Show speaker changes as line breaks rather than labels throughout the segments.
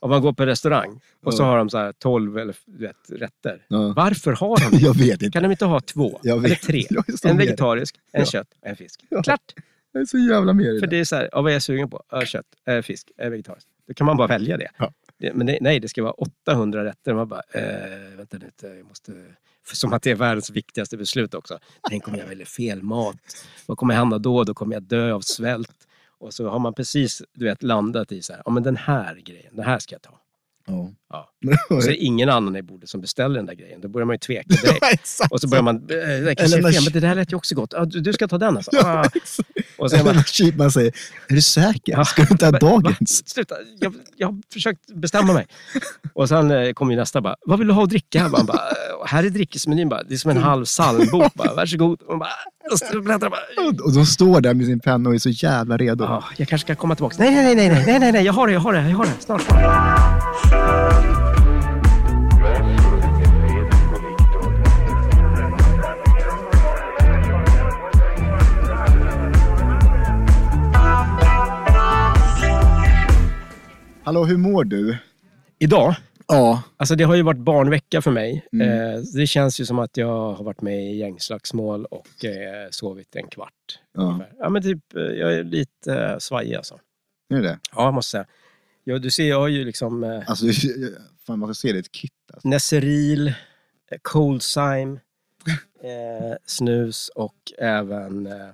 Om man går på restaurang och så
Ja.
har de så här 12 eller du vet, rätter.
Ja.
Varför har de det?
Jag vet inte.
Kan de inte ha två?
Jag
Eller
vet.
tre?
Jag är så
En
med.
vegetarisk, en
Ja.
kött och en fisk.
Ja.
Klart!
Jag är så jävla med i
För
det.
det är så här, ja, vad är jag sugen på? Ja, Kött, äh, fisk, äh, vegetariskt. Då kan man bara välja det.
Ja.
det men det, nej, det ska vara 800 rätter. Man bara, eh, vänta lite, jag måste... För som att det är världens viktigaste beslut också. Tänk om jag väljer fel mat? Vad kommer jag hamna då? Då kommer jag dö av svält. Och så har man precis du vet, landat i så här, ja men den här grejen, den här ska jag ta.
Ja.
Ja. Och så är det ingen annan i bordet som beställer den där grejen. Då börjar man ju tveka direkt.
Ja, exakt.
Och så börjar man, eh, jag kanske
Eller
är
när-
fel, men det där lät ju också gott. Ja, du, du ska ta den alltså.
Ja,
Ah.
exakt.
Och sen bara,
Eller cheap man säger, är du säker?
Ja.
Ska du inte ha dagens?
sluta, jag, jag har försökt bestämma mig. Och sen eh, kom ju nästa bara, vad vill du ha att dricka? Man bara, "Eh, och här är dryckesmenyn bara, det är som en halv psalmbok bara, varsågod. Och man bara, och så bläddrar bara,
Och de står där med sin penna och är så jävla redo.
"Ah, jag kanske ska komma tillbaka. Nej, nej, nej, nej, nej, nej, nej, jag har det, jag har det, jag har det, snart.
Hallå, hur mår du?
Idag,
Ja.
alltså det har ju varit barnvecka för mig. Eh, så det känns ju som att jag har varit med i gängslagsmål och eh, sovit en kvart.
ja.
Ja, men typ, eh, jag är lite eh, svajig alltså.
Är det det?
Ja, jag måste säga. Ja, du ser, jag har ju liksom... Eh,
Alltså, fan, man ska se ditt kit. Alltså.
Neseril, eh, Coldsime, eh, snus och även, eh,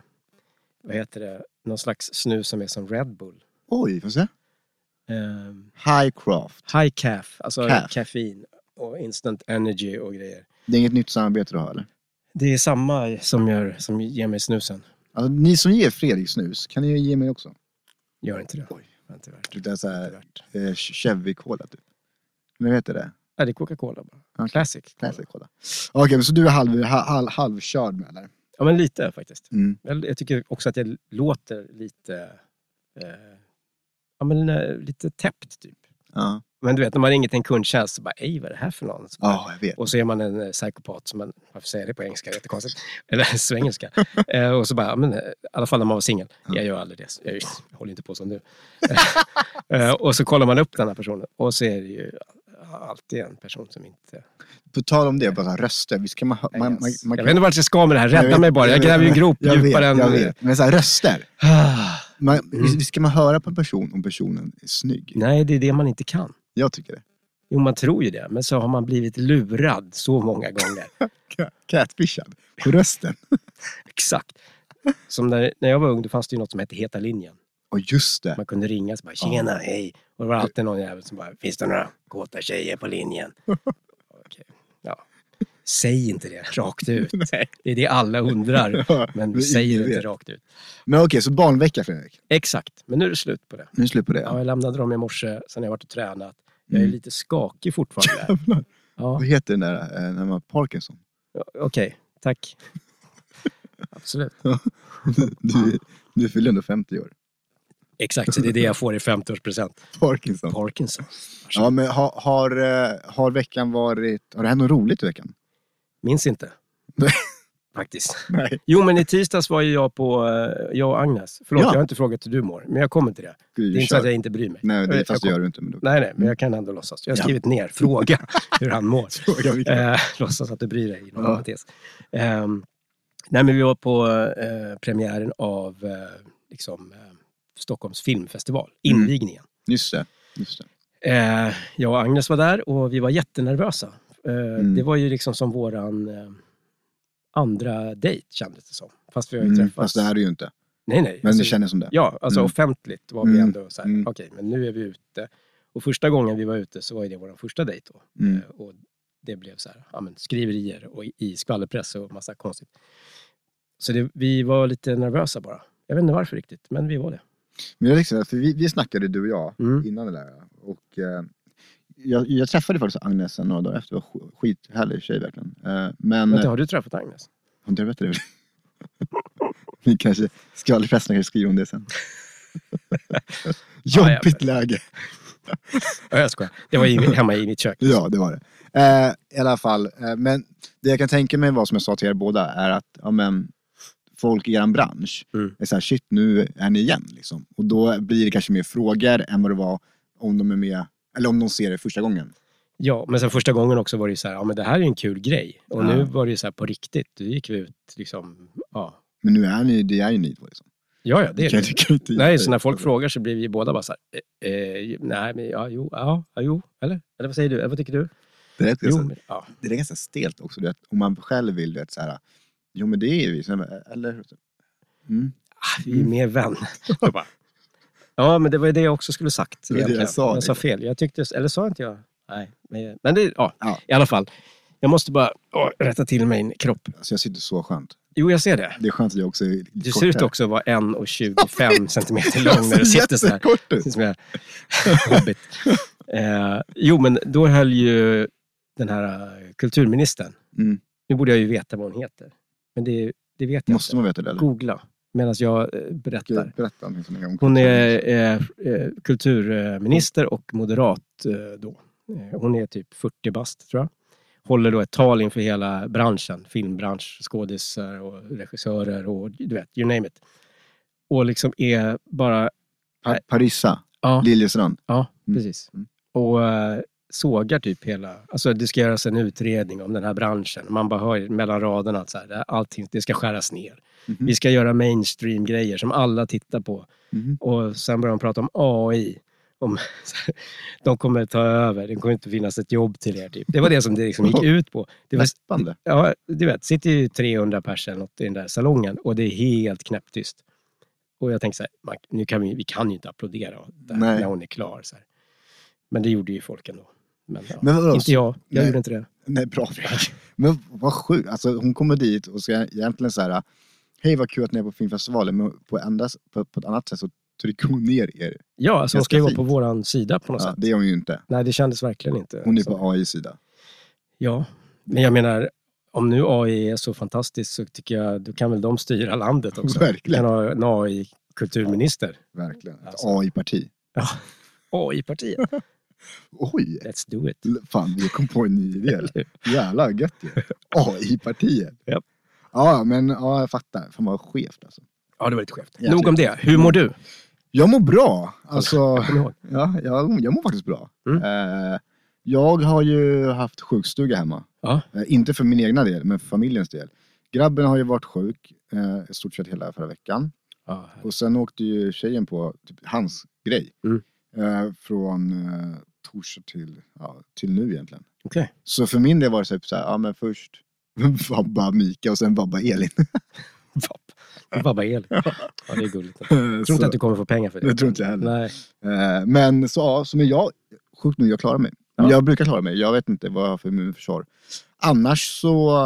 vad heter det, någon slags snus som är som Red Bull.
Oj, får jag se?
Eh,
Highcraft.
high Caf, alltså
Caf.
koffein och instant energy och grejer.
Det är inget nytt samarbete du har eller?
Det är samma som, gör, som ger mig snusen.
Alltså, ni som ger Fredrik snus, kan ni ju ge mig också?
Gör inte det.
Oj.
Inte värt.
Det är så
Inte
här,
värt.
eh, Chevy-cola typ. Men vad heter det?
Nej, det är Coca-Cola bara.
Okej.
Classic. Cola.
Classic-cola. Okej, men så du är halv, halv, halvkörd med eller?
Ja, men lite faktiskt.
Mm.
Jag, jag tycker också att jag låter lite, eh, ja, men, eh, lite täppt typ.
Ja,
Men du vet, när man ringer till en kundtjänst så bara, ej vad är det här för någon? Så bara,
Ja, jag vet.
Och så är man en eh, psykopat, som man, varför säger jag det på engelska? Det är jättekonstigt. Eller svengelska. eh, och så bara, ja, men, eh, i alla fall när man var singel. Jag gör aldrig det. så Jag, jag håller inte på som du. eh, och så kollar man upp den här personen och så är det ju alltid en person som inte...
På tal om det, bara röster. Visst kan man, hö- man, man, man
jag
kan
vet inte vart jag ska med det här.
Jag
Rädda
vet,
mig bara. Jag
vet,
gräver ju en grop
jag vet,
djupare än...
Jag vet, men så här, röster.
Ah,
Man, visst, visst kan man höra på en person om personen är snygg?
Nej, det är det man inte kan.
Jag tycker det.
Jo, man tror ju det, men så har man blivit lurad så många gånger.
Ca- Catfishad. På rösten.
Exakt. Som när, när jag var ung, då fanns det ju något som hette Heta linjen.
Och just det.
Man kunde ringa så bara “Tjena, hej!” Och det var alltid någon jävel som bara “Finns det några kåta tjejer på linjen?” Okej, ja. Säg inte det rakt ut. Det är det alla undrar,
Ja,
men
men
säg
ingen
det inte
vet.
rakt ut.
Men okej, så barnvecka Fredrik.
Exakt, men nu är det slut på det.
Nu är det slut på det.
Ja, jag lämnade dem i morse, sen har jag varit och tränat. Jag är
Mm.
lite skakig fortfarande.
Jävlar.
Ja,
Vad heter den där, eh, när man har Parkinson?
okej, tack. Absolut.
Du, du fyller ändå 50 år.
Exakt, så det är det jag får i 50-årspresent.
Parkinson.
Parkinson.
Ja, men har, har, eh, har veckan varit... Har det hänt något roligt i veckan?
Minns inte.
Nej.
Faktiskt.
Nej.
Jo, men i tisdags var ju jag på, eh, jag och Agnes. Förlåt,
Ja.
jag har inte frågat hur du mår, men jag kommer till det. Det
Gud,
är inte så att
kör.
jag inte bryr mig.
Nej, det,
Jag-
fast det
jag
gör du inte. Men du...
Nej, nej, men jag kan ändå låtsas. Jag har
Ja.
skrivit ner, fråga hur han mår.
Fråga vilken-
Eh, låtsas att du bryr dig. Inom
Ja.
ja. Ehm, nej, men vi var på eh, premiären av eh, liksom, eh, Stockholms filmfestival,
Mm.
invigningen.
Just det. Just det.
Eh, jag och Agnes var där och vi var jättenervösa. Eh,
Mm.
Det var ju liksom som våran eh, andra dejt kändes det som. Fast vi har ju
Mm,
träffats.
fast det här är det ju inte.
Nej, nej.
Men
alltså,
det kändes som det.
Ja, alltså
Mm.
offentligt var vi
Mm,
ändå så här,
mm.
okej, men nu är vi ute. Och första gången vi var ute så var ju det vår första dejt då.
Mm.
Eh, Och det blev så här, ja, men skriverier och i- i skvallerpress och massa konstigt. Så det, vi var lite nervösa bara. Jag vet inte varför riktigt, men vi var det.
Men jag liksom, för vi, vi snackade du och jag
Mm.
innan det där. Och, eh, jag, jag träffade faktiskt Agnes sen några dagar efter. Det var sk- skithärlig tjej verkligen. Eh, men...
Vänta, har du träffat Agnes?
Hon dör bättre. Vi kanske, skvallerpressen kanske skriver om det sen.
Ja,
Jobbigt läge.
Ja, jag skojar. Det var i, hemma i mitt kök.
Ja, det var det. Eh, I alla fall, eh, men det jag kan tänka mig vad som jag sa till er båda är att ja, men, folk i er bransch
Mm.
är så här, shit nu är ni igen liksom. Och då blir det kanske mer frågor än vad det var om de är med Eller om de ser det första gången.
Ja, men sen första gången också var det ju så här, ja men det här är en kul grej. Och
Ja.
nu var det ju så här på riktigt, då gick vi ut liksom, ja.
Men nu är ni, det är ju ni två liksom.
Ja, ja, det är
Kan-
det.
det kan inte-
Nej, så när folk frågar så blir vi båda bara så här, eh, eh, nej men ja, jo, ja, ja, jo, eller? Eller vad säger du? Eller vad tycker du?
Det är rätt
Jo,
ganska-
men, ja.
det är ganska stelt också, du vet, om man själv vill du vet, så här, jo men det är ju vi, Sen bara, eller? Mm.
Ah, vi är mer vän. Jag bara, ja, men det var ju det jag också skulle sagt.
Det var det jag
egentligen.
sa,
jag sa
liksom.
fel. Jag tyckte, eller sa inte jag? Nej, men, men det, ja,
Ja.
i alla fall. Jag måste bara åh, rätta till min kropp.
Alltså jag sitter så skönt.
Jo, jag ser det.
Det är skönt att jag också är lite
Du ser
kortare.
ut också att vara 1,25 centimeter lång när du sitter så här.
Jättekort ut.
Precis som jag Hobbit. Eh, jo, men då höll ju den här eh, kulturministern.
Mm.
Nu borde jag ju veta vad hon heter. Men det, det vet jag
Måste
inte.
man veta det eller?
Googla medan jag eh, berättar.
Okej, Berätta om en gång.
Hon är eh, eh, kulturminister och moderat eh, då. Eh, Hon är typ 40 bast tror jag. Håller då ett tal inför hela branschen, filmbransch, skådisar och regissörer och du vet, you name it. Och liksom är bara,
Pa- Parissa,
ja,
Liljestrand.
ja
Mm.
precis.
Mm.
Och eh, sågar typ hela, alltså det ska göras en utredning om den här branschen. Man bara hör mellan raderna att så här, det här- allting, det ska skäras ner.
Mhm.
Vi ska göra mainstream-grejer som alla tittar på.
Mhm.
Och sen börjar de prata om AI. Om, de kommer ta över, det kommer inte finnas ett jobb till er. Typ. Det var det som det liksom gick ut på. Det var,
Läspande.
ja, du vet, sitter ju 300 personer något i den där salongen och det är helt knäpptyst. Och jag tänkte så här, man, nu kan vi, vi kan ju inte applådera där,
Nej.
när hon är klar. Så här. Men det gjorde ju folk ändå. Men, ja.
Men vadå?
inte jag, jag
Nej.
gjorde inte det.
Nej, bra Fredrik. Men vad sjukt. Alltså, hon kommer dit och ska egentligen så här, hej vad kul att ni är på filmfestivalen, men på, andra, på, på ett annat sätt så trycker hon ner er.
Ja, alltså hon
Ganska
ska ju vara
fint.
på våran sida på något
Ja,
sätt.
det är hon ju inte.
Nej, det kändes verkligen inte.
Hon är
så.
på AI sida.
Ja, men jag menar, om nu AI är så fantastiskt så tycker jag, då kan väl de styra landet också. Vi
Verkligen.
kan ha en AI-kulturminister.
Verkligen. Ett
Alltså.
AI-parti.
AI-partiet.
Oj!
Let's do it.
L- Fan, vi kom på en ny idé.
Eller hur?
Jävlar gött ju. AI-partiet.
Japp.
Ja, men ja, jag fattar. Fan vad skevt alltså.
Ja, det var lite skevt.
Jäkligt.
Nog om det. Hur mår du?
Jag mår bra. Alltså,
Kommer du ihåg?
ja, jag, jag mår faktiskt bra.
Mm.
Eh, jag har ju haft sjukstuga hemma.
Ja.
Eh, inte för min egna del, men för familjens del. Grabben har ju varit sjuk eh, i stort sett hela förra veckan.
ja.
Och sen åkte ju tjejen på typ, hans grej.
Mm.
Eh, från eh, torsdag till, ja, till nu egentligen.
Okej.
Så för min del var det typ så här, ja men först vabba Mika och sen vabba Elin.
Vapp. Det var bara el. Ja, det är gulligt. Jag
Eh,
tror
så-
inte att du kommer få pengar för det.
Jag tror inte jag heller.
Nej.
Eh, Men så, ja, så men jag, sjukt nog, jag klarar mig.
Ja.
Jag brukar klara mig. Jag vet inte vad jag har för immunförsvar. Annars så,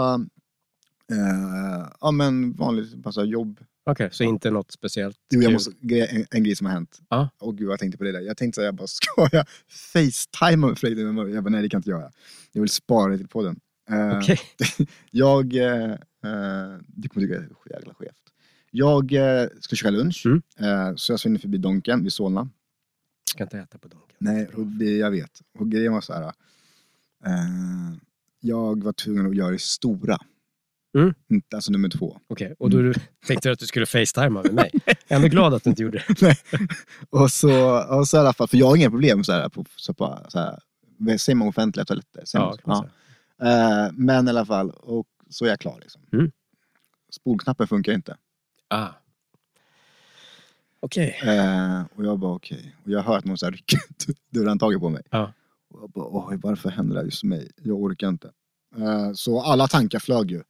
eh, ja men vanligt passa jobb.
Okej, så inte något speciellt?
Du, jag
kul.
måste, gre- en, en grej som har hänt.
Ja.
Och gud, jag tänkte på det där. Jag tänkte så här, jag bara, ska jag facetimea med Fredrik? Jag bara, nej det kan inte jag göra. Jag vill spara det till podden. Eh,
Okej.
Jag, eh, eh, det kommer tycka är jävla skevt. Jag eh, ska köra lunch,
Mm.
eh, så jag svinner förbi Donken vid Solna.
Jag ska inte äta på Donken.
Nej, och det jag vet. Och grejen var så här. Eh, jag var tvungen att göra det stora.
Mm.
Inte, alltså nummer två.
Okej, och då du, tänkte du att du skulle facetimea med mig. Jag är ändå glad att du inte gjorde det.
Och så, och så i alla fall, för jag har inga problem så här, på, så på, så här, vad säger man offentliga toaletter? Säger man
Ja,
så?
kan man säga.
Ja. Eh, men i alla fall, och så är jag klar. Liksom.
Mm.
Spolknappen funkar inte.
Ah. Okej.
Eh, och jag bara okej. Och jag hör att någon så här rycker ut dörrhandtaget på mig.
Ja.
Och jag bara oj, varför händer det här just mig? Jag orkar inte. Eh, så alla tankar flög ju.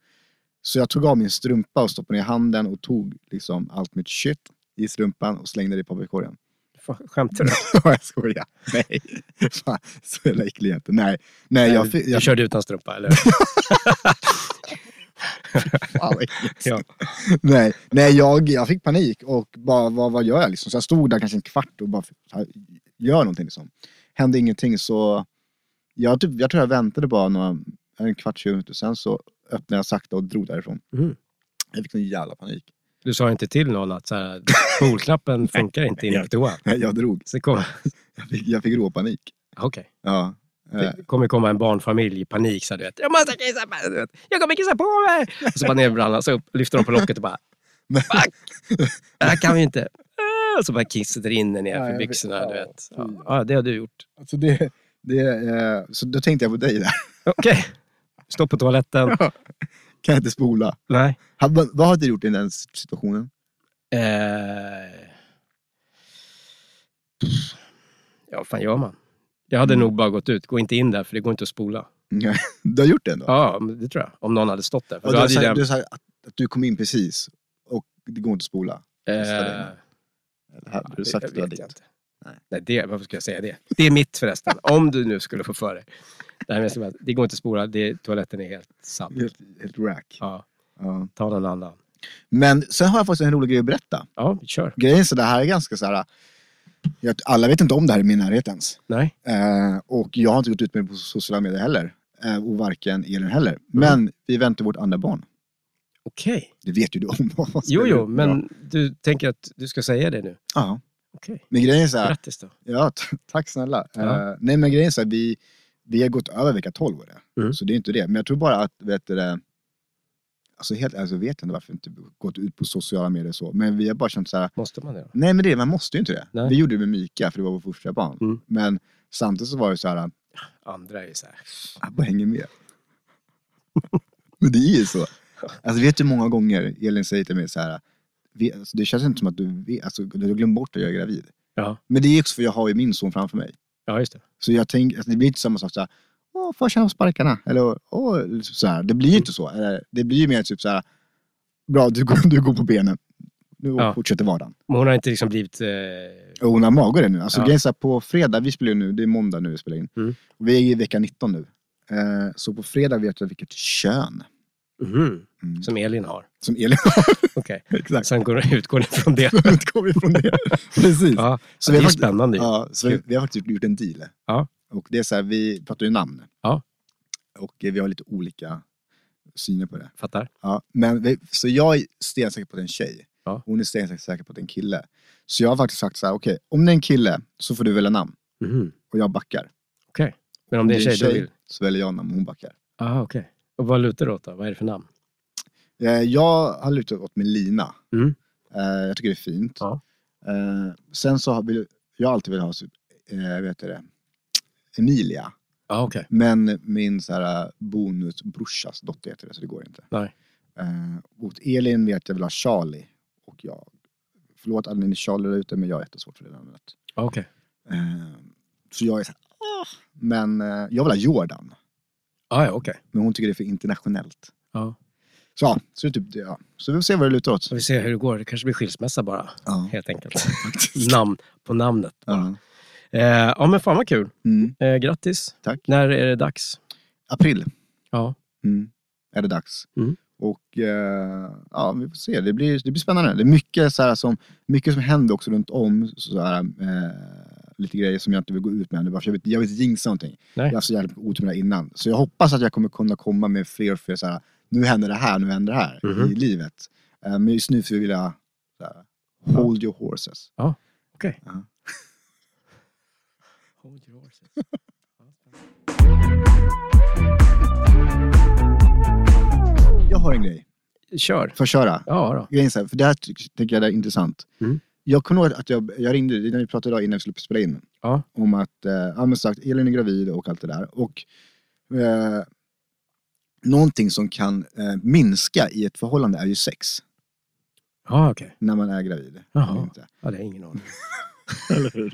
Så jag tog av min strumpa och stoppade ner handen och tog liksom allt mitt shit i strumpan och slängde det i papperskorgen.
Fan, Skämtar du?
Ja, jag skojar. Nej. Fan, så jävla äcklig jag inte. Nej. Nej, jag...
du,
fi- jag
körde utan strumpa, eller?
fan, vad äckligt.
Ja.
Nej, nej jag, jag fick panik och bara, vad, vad gör jag liksom? Så jag stod där kanske en kvart och bara, fan, gör någonting liksom. Hände ingenting så, jag, typ, jag tror jag väntade bara några, en kvart, 20 minuter. Sen så öppnade jag sakta och drog därifrån.
Mm.
Jag fick sån jävla panik.
Du sa inte till någon att så här, polknappen funkar inte inne på toan.
Nej, Jag drog.
Så det kommer,
Jag fick, jag fick råpanik.
okej.
Ja. Eh,
det kommer komma en barnfamilj i panik. Så här, du vet. Jag måste kissa på mig! du vet. Jag kommer kissa på mig! Och så bara ner brallan, så upp, lyfter de på locket och bara...
Nej.
Fuck! Det här kan vi inte. Ah, Så bara kisset rinner ner
Ja, jag
för
vet.
byxorna.
Ja,
du vet.
fy.
Ja. ja, det har du gjort.
Alltså det, det, eh, så då tänkte jag på dig där.
Okej. Stå på toaletten.
Kan jag inte spola?
Nej.
Ha- vad- Vad hade du gjort i den situationen?
Eh... Ja, vad fan gör man? Jag hade
Mm.
nog bara gått ut. Gå inte in där, för det går inte att spola.
Nej, Du har gjort det ändå?
Ja, men det tror jag. Om någon hade stått där. För då
Och du har
hade ju
sagt,
den,
du har sagt att, att du kom in precis och det går inte att spola.
eh,
Eller hade
det
du sagt att du
vet
hade
jag
dit?
inte.
Nej.
Nej, det, varför ska jag säga det? Det är mitt förresten. om du nu skulle få för dig. Det, här med, jag ska bara- det går inte att spola. Det, toaletten är helt sabb.
Helt, helt rack.
Ja,
Ja.
ta någon annan.
Men sen har jag faktiskt en rolig grej att berätta.
Ja, vi kör.
Grejen är så det här är ganska så här. Jag, alla vet inte om det här i min närhet ens.
Nej.
Eh, och jag har inte gått ut med det på sociala medier heller. Eh, och varken Elin heller. Men vi väntar vårt andra barn.
Okej.
Det vet ju du om. vad som
Jo,
är
jo,
bra.
men du tänker att du ska säga det nu?
Ja.
Okej.
Men grejen är så här.
Grattis då.
Ja, t- tack snälla.
Ja.
Eh, nej, men grejen är så här, vi, vi har gått över vecka 12 var det.
Mm.
Så det är inte det. Men jag tror bara att, vet du det, alltså helt ärligt så vet jag inte varför vi inte gått ut på sociala medier och så. Men vi har bara känt så här,
Måste man det då?
nej men det, man måste ju inte det.
Nej.
Vi gjorde det med Mika, för det var vår första barn.
Mm.
Men samtidigt så var det så här,
Andra är ju så här.
jag bara hänger med. men det är ju så. Alltså vet du hur många gånger Elin säger till mig så här, vi, alltså, det känns inte som att du, vet- alltså, du har glömt bort att jag är gravid.
Ja,
Men det är också för jag har ju min son framför mig.
ja just det.
Så jag tänker, alltså, det blir inte samma sak såhär, åh farsan har sparkarna, eller åh, eller typ såhär. Det blir ju inte så. Eller, det blir ju mer typ såhär, bra du, går- du går på benen. Nu
Ja.
fortsätter vardagen.
Men hon har inte liksom blivit... Eh...
Och hon har mage redan nu. Alltså
Ja.
grejen är så här, på fredag, vi spelar ju nu, det är måndag nu vi spelar in.
Mm.
Och vi är i vecka 19 nu. Eh, så på fredag vet jag vilket kön
mhm,
mm.
Som Elin har.
som Elin har.
Okej.
Exakt.
Sen går, utgår ni från det.
Utgår vi från det. Precis.
Ja,
Så
det
vi
är ju
har faktiskt-
spännande. ju.
Ja, så vi, vi har faktiskt gjort en deal.
Ja.
Och det är så här, vi pratar ju namn.
Ja.
Och eh, vi har lite olika syner på det.
Fattar?
Ja, men vi, så jag är stensäker på att det är en tjej.
Ja.
Hon är stensäker säker på att det är en kille. Så jag har faktiskt sagt så här, okej, om det är en kille så får du välja namn.
Mhm,
Och jag backar.
Okej. Men om det är en tjej, du vill?
så väljer jag namn och hon backar.
Ah, okej. Och vad lutar du åt då? Vad är det för namn?
Eh, Jag har lutat åt med Lina.
Mm.
Eh, Jag tycker det är fint.
Ja.
Eh, Sen så har vi- jag har alltid velat ha, så- eh, vet du det, Emilia.
Ja, ah, okej.
Men min så här, bonusbrorsas dotter heter det, så det går inte.
Nej.
Eh, mot Elin vet jag vill ha Charlie. Och jag, förlåt alla ni Charlie där ute, men jag har jättesvårt för det namnet.
Ah, okej.
Eh, så jag är så här, "Åh." Men eh, jag vill ha Jordan.
Ah, ja, okej.
Men hon tycker det är för internationellt.
Ja.
Så ja, så, det är typ, det, ja. så vi får se vad det lutar åt.
Så vi ser hur det går. Det kanske blir skilsmässa bara.
Ja,
Helt enkelt.
faktiskt.
Namn på namnet.
Ja.
Eh, ja, men fan vad kul.
Mm,
Eh, grattis.
Tack.
När är det dags?
april
Ja.
mm, är det dags.
Mm.
Och eh, ja, vi får se. Det blir, det blir spännande. Det är mycket, så här, som, mycket som händer också runt om. Så här, eh, lite grejer som jag inte vill gå ut med ännu. bara för Jag vet, jag vet jinxa någonting.
Nej.
Jag har haft så jävla mycket otur med det här innan. Så jag hoppas att jag kommer kunna komma med fler och fler så här, nu händer det här, nu händer det här
Mhm.
i livet. Eh, men just nu så vill jag så här, hold your horses.
Okej.
Ja.
Hold your horses.
Jag har en grej.
Kör.
Får jag köra?
Ja då.
grejen är så här, för det här ty- tänker jag är intressant.
Mm.
Jag kommer ihåg att jag, jag ringde dig när vi pratade idag innan vi skulle spela in.
Ja.
Om att, eh, ja men sagt, Elin är gravid och allt det där. Och eh, någonting som kan eh, minska i ett förhållande är ju sex.
Ja, okej.
När man är gravid.
Jaha.
Eller inte.
Ja, det har jag ingen aning.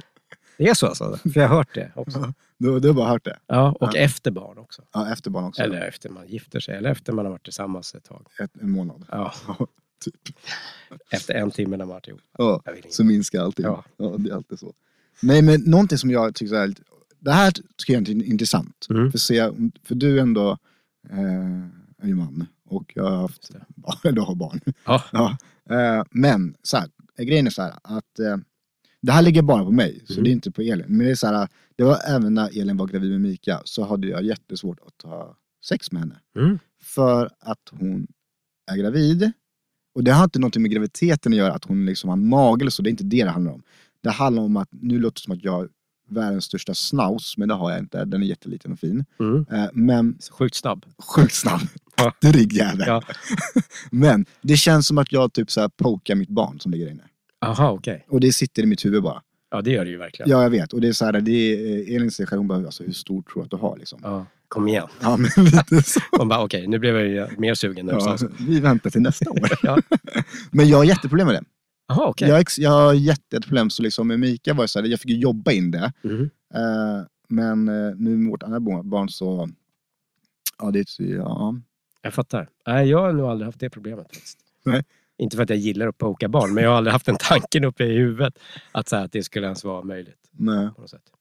Det är så alltså? För jag har hört det också.
Du, du har bara hört det.
Ja, och
Ja.
efter barn också.
Ja, efter barn också.
Eller efter man gifter sig, eller efter man har varit tillsammans ett tag.
Ett, en månad.
Ja,
typ.
efter en timme när man varit ihop.
Ja,
Jag vill inte.
så minskar allting. Ja.
Ja.
det är alltid så. Nej, men någonting som jag tycker så här, är lite- det här tycker jag är intressant.
Mm.
För, se, om- för du är ändå eh, är ju man och jag har haft
Just det.
barn. Du har barn.
Ja.
Ja. Eh, men så här, grejen är så här att eh, det här ligger bara på mig, så
Mm.
det är inte på Elin. Men det är så här, det var även när Elin var gravid med Mika så hade jag jättesvårt att ha sex med henne.
Mm.
För att hon är gravid. Och det har inte någonting med graviditeten att göra, att hon liksom har mage eller så. Det är inte det det handlar om. Det handlar om att, nu låter det som att jag har världens största snaus, men det har jag inte. Den är jätteliten och fin.
Mm.
Eh, Men
Så Sjukt snabb.
sjukt snabb.
Ja.
Du ryggjävel.
Ja.
Men det känns som att jag typ så här pokar mitt barn som ligger där inne.
Aha, okej.
Och det sitter i mitt huvud bara.
Ja, det gör det ju verkligen.
Ja, jag vet. Och det är så här, det är, Elin säger själv, hon bara, alltså, hur stor tror du att du har liksom?
Ja, kom igen.
Ja, men lite så.
Man bara, okej, nu blev jag ju mer sugen. när du sa
Ja,
så.
vi väntar till nästa år.
Ja.
Men jag har jätteproblem med det.
Jaha, okej.
Jag, har ex- jag har jätte- jätteproblem. Så liksom med Mika var det så här, jag fick ju jobba in det.
Mm.
Eh, men eh, nu med vårt andra bo- barn så... Ja, det är... så- Ja.
Jag fattar. Nej, jag har nog aldrig haft det problemet. Faktiskt.
Nej.
Inte för att jag gillar att poka barn, men jag har aldrig haft den tanken uppe i huvudet att, så här, att det skulle ens vara möjligt.
Nej.
På något sätt.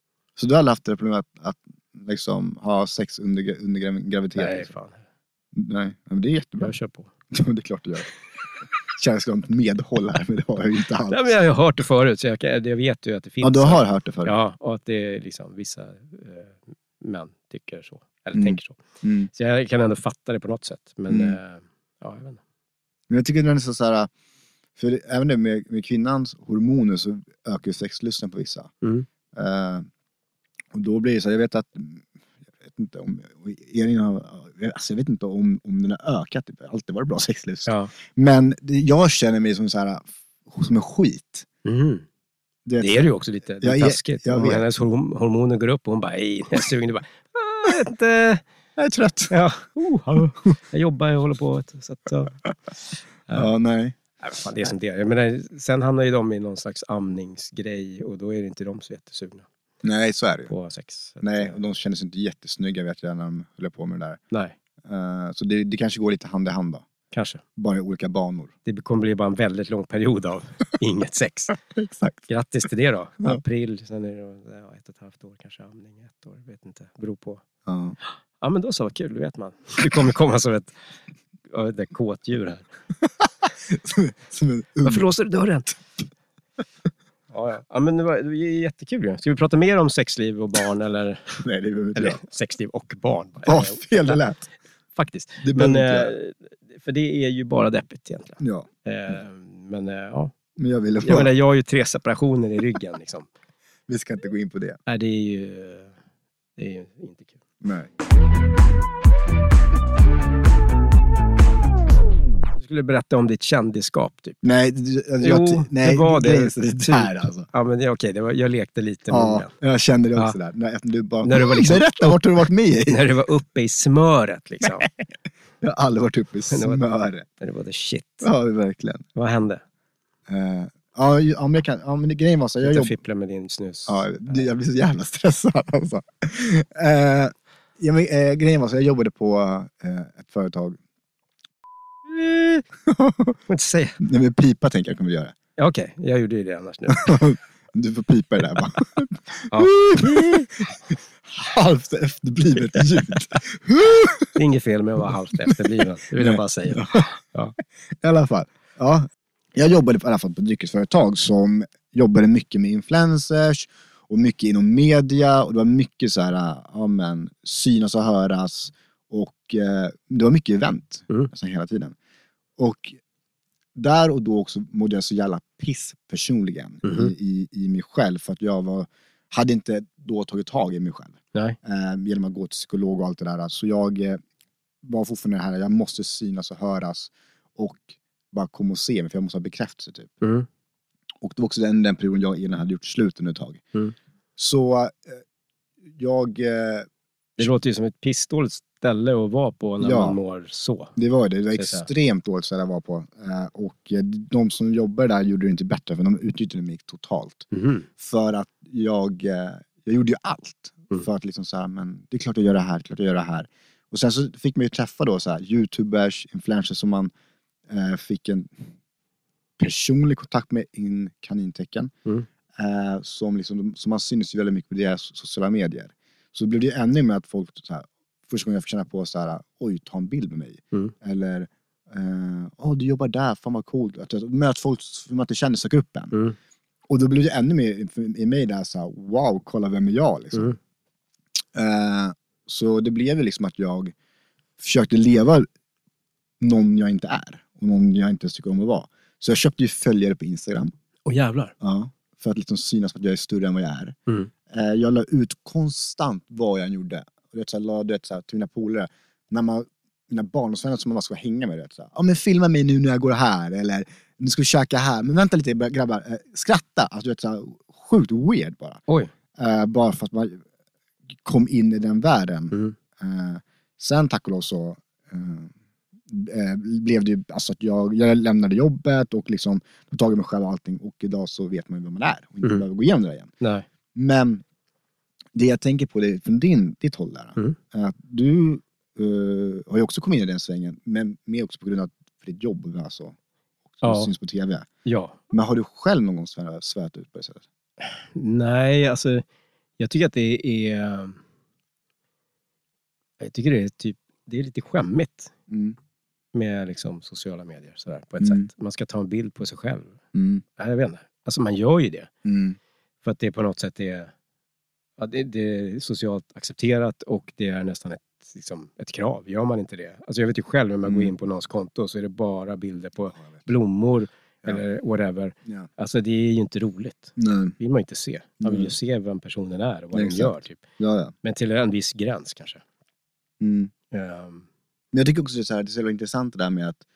Så du har aldrig haft det problemet att, att liksom ha sex under, gra- under gra- graviditet?
Nej,
liksom?
fan.
Nej. Men det är jättebra.
Jag kör på.
Ja, men det är klart du gör. Känns som ett medhåll här, men det har jag ju inte alls.
Nej, men jag har ju hört det förut, så jag, kan- jag vet ju att det finns.
Ja, du har hört det förut.
Ja, och att det är liksom vissa eh, män tycker så. Eller
Mm.
tänker så.
Mm.
Så jag kan ändå fatta det på något sätt. Men
Mm.
eh, ja, jag vet inte.
Men jag tycker det är så så här, för även det med, med kvinnans hormoner så ökar ju sexlusten på vissa.
Mm.
Eh, och då blir det så här, jag vet att, jag vet inte om, Elin har, alltså jag vet inte om, om den har ökat, typ. det har alltid varit bra sexlust.
Ja.
Men det, jag känner mig som så här, som en skit.
Mm.
Du vet,
Det är det ju också lite, lite
Jag- jag-
taskigt.
jag
Om
vet.
hennes horm- hormoner går upp och hon bara, "Ej, jag är sugen. Du bara, "Ah, jag vet inte.
jag är trött.
Ja. Oh, hallå. jag jobbar, jag håller på. vet du, Så att, ja. Nej,
Ja, nej.
vad fan, det är som det är. Jag menar, sen hamnar ju de i någon slags amningsgrej och då är det inte de så jättesugna
Nej, så är det ju.
på sex. Så att,
Nej,
eh,
och de kändes ju inte jättesnygga vet jag när de höll på med det där.
nej,
Eh, så det, det kanske går lite hand i hand då.
kanske.
Bara i olika banor.
Det kommer bli bara en väldigt lång period av inget sex.
Exakt.
Grattis till det då.
Ja.
April, sen är det ja, ett och ett halvt år kanske, amning ett år, vet inte. Beror på.
Ja.
Ja men då så, vad kul, då vet man. Du kommer komma som ett, ja, ett där kåtdjur
Mm.
här.
Som en
Varför låser du dörren? Ja, ja. ja men det, var, det var jättekul ju. Ska vi prata mer om sexliv och barn eller,
Nej, det behöver vi inte
eller
göra.
sexliv och barn? bara.
Vad fel det lät.
Faktiskt.
Det behöver
Men,
vi inte göra.
eh, för det är ju bara deppigt egentligen.
Ja,
Eh, Men eh, ja,
men jag ville
jag
bara...
menar jag har ju tre separationer i ryggen liksom.
Vi ska inte gå in på det.
Nej, det är ju, det är ju inte kul.
Nej.
Du skulle berätta om ditt kändisskap typ.
Nej, det- alltså,
Jo,
jag, ty- nej,
det var det.
grejen är så- Det där alltså.
Ja, men det, okej, det var, jag lekte lite med
Ja,
orden.
jag kände det
Ja.
också där. När, du bara,
När du var liksom-
Berätta, vart har du varit med i?
När det var uppe i smöret liksom.
Jag har aldrig varit uppe i
Men det var-
smöret.
När det var the shit.
Ja, verkligen.
Vad hände?
Eh, ja, ju- ja, men jag kan, ja, men grejen var så här, jag
Jag
jobb,
fipplade med din snus.
ja, det- jag blir så jävla stressad alltså. Eh, ja, men, eh, grejen var så här, jag jobbade på eh, ett företag.
Eh, Får inte säga.
Nej, men pipa tänker jag kommer göra.
Ja, Okej, jag gjorde ju det annars nu.
Du får pipa det där bara.
Ja.
Halvt efterblivet ljud.
Det är inget fel med att vara halvt efterbliven. Det vill jag bara säga.
I alla fall. Ja. Jag jobbade i alla fall på ett dryckesföretag som jobbade mycket med influencers och mycket inom media och det var mycket så här, ja men synas och höras och eh, det var mycket event
Mm.
nästan hela tiden. Och där och då också mådde jag så jävla piss personligen
Mhm.
i, i, i mig själv för att jag var, hade inte då tagit tag i mig själv
Nej.
eh, genom att gå till psykolog och allt det där. Så jag eh, var fortfarande det här, jag måste synas och höras och bara komma och se mig för jag måste ha bekräftelse typ.
Mm.
Och det var också den, den perioden jag innan hade gjort slut under ett tag.
Mm.
Så eh, jag, eh,
Det låter ju som ett pissdåligt ställe att vara på när
Ja.
man mår så.
det var det, det var
Så att säga.
extremt dåligt ställe jag var på. Eh, och eh, de som jobbade där gjorde det inte bättre för de utnyttjade mig totalt.
Mhm.
För att jag, eh, jag gjorde ju allt.
Mm.
För att liksom så här, men det är klart jag gör det här, klart jag gör det här. Och sen så fick man ju träffa då så här, youtubers, influencers som man eh, fick en personlig kontakt med in kanintecken.
Mm.
Eh, som, liksom, som man syns ju väldigt mycket på deras sociala medier. Så det blev det ju ännu mer att folk, så här, första gången jag fick känna på så här, oj ta en bild med mig.
Mm.
Eller, eh, åh du jobbar där, fan vad coolt. Att, jag- men att folk som inte känner söker upp en.
Mm.
Och då blev det ännu mer för- i mig där så här, wow, kolla vem är jag liksom.
Mm.
Eh, så det blev ju liksom att jag försökte leva någon jag inte är och någon jag inte tycker om att vara. Så jag köpte ju följare på Instagram
Och jävlar.
ja, för att liksom synas att jag är större än vad jag är.
Mm.
Eh, jag la ut konstant vad jag än gjorde. Och det så här, la, du vet, så här, till mina polare, när man, mina barndomsvänner som man bara ska hänga med. Du vet, så här, ja men filma mig nu när jag går här eller nu ska vi käka här, men vänta lite grabbar, eh, skratta. Alltså, du vet, så här, sjukt weird bara.
Oj.
Eh, bara för att man kom in i den världen.
Mm.
Eh, sen tack och lov så eh, eh, blev det ju, alltså att jag, jag lämnade jobbet och liksom tog tag i mig själv och allting och idag så vet man ju vem man är och inte
Mm.
behöver gå igenom det där igen.
Nej.
Men det jag tänker på det är från din, ditt håll där.
Mm.
är Att du eh, har ju också kommit in i den svängen, men mer också på grund av ditt jobb alltså. Som
Ja.
syns på TV.
Ja.
Men har du själv någon gång svär- svärat ut på det sättet?
Nej, alltså jag tycker att det är... eh, Jag tycker det är typ... Det är lite skämmigt
Mm.
med liksom sociala medier sådär, på ett
Mm.
sätt. Man ska ta en bild på sig själv.
Mm.
Nej, jag vet inte. Alltså man gör ju det.
Mm.
För att det på något sätt är, ja, det, det är socialt accepterat och det är nästan ett, liksom, ett krav. Gör man inte det? Alltså jag vet ju själv om jag går
Mm.
in på någons konto så är det bara bilder på blommor
Ja.
eller whatever.
Ja.
Alltså det är ju inte roligt.
Nej.
Det vill man ju inte se. Man vill ju
Mm.
se vem personen är och vad
Nej,
den
exakt.
gör. Typ.
Ja, ja.
Men till en viss gräns kanske.
Mm.
Ehm,
Men jag tycker också det är, så här, det är så jävla intressant det där med att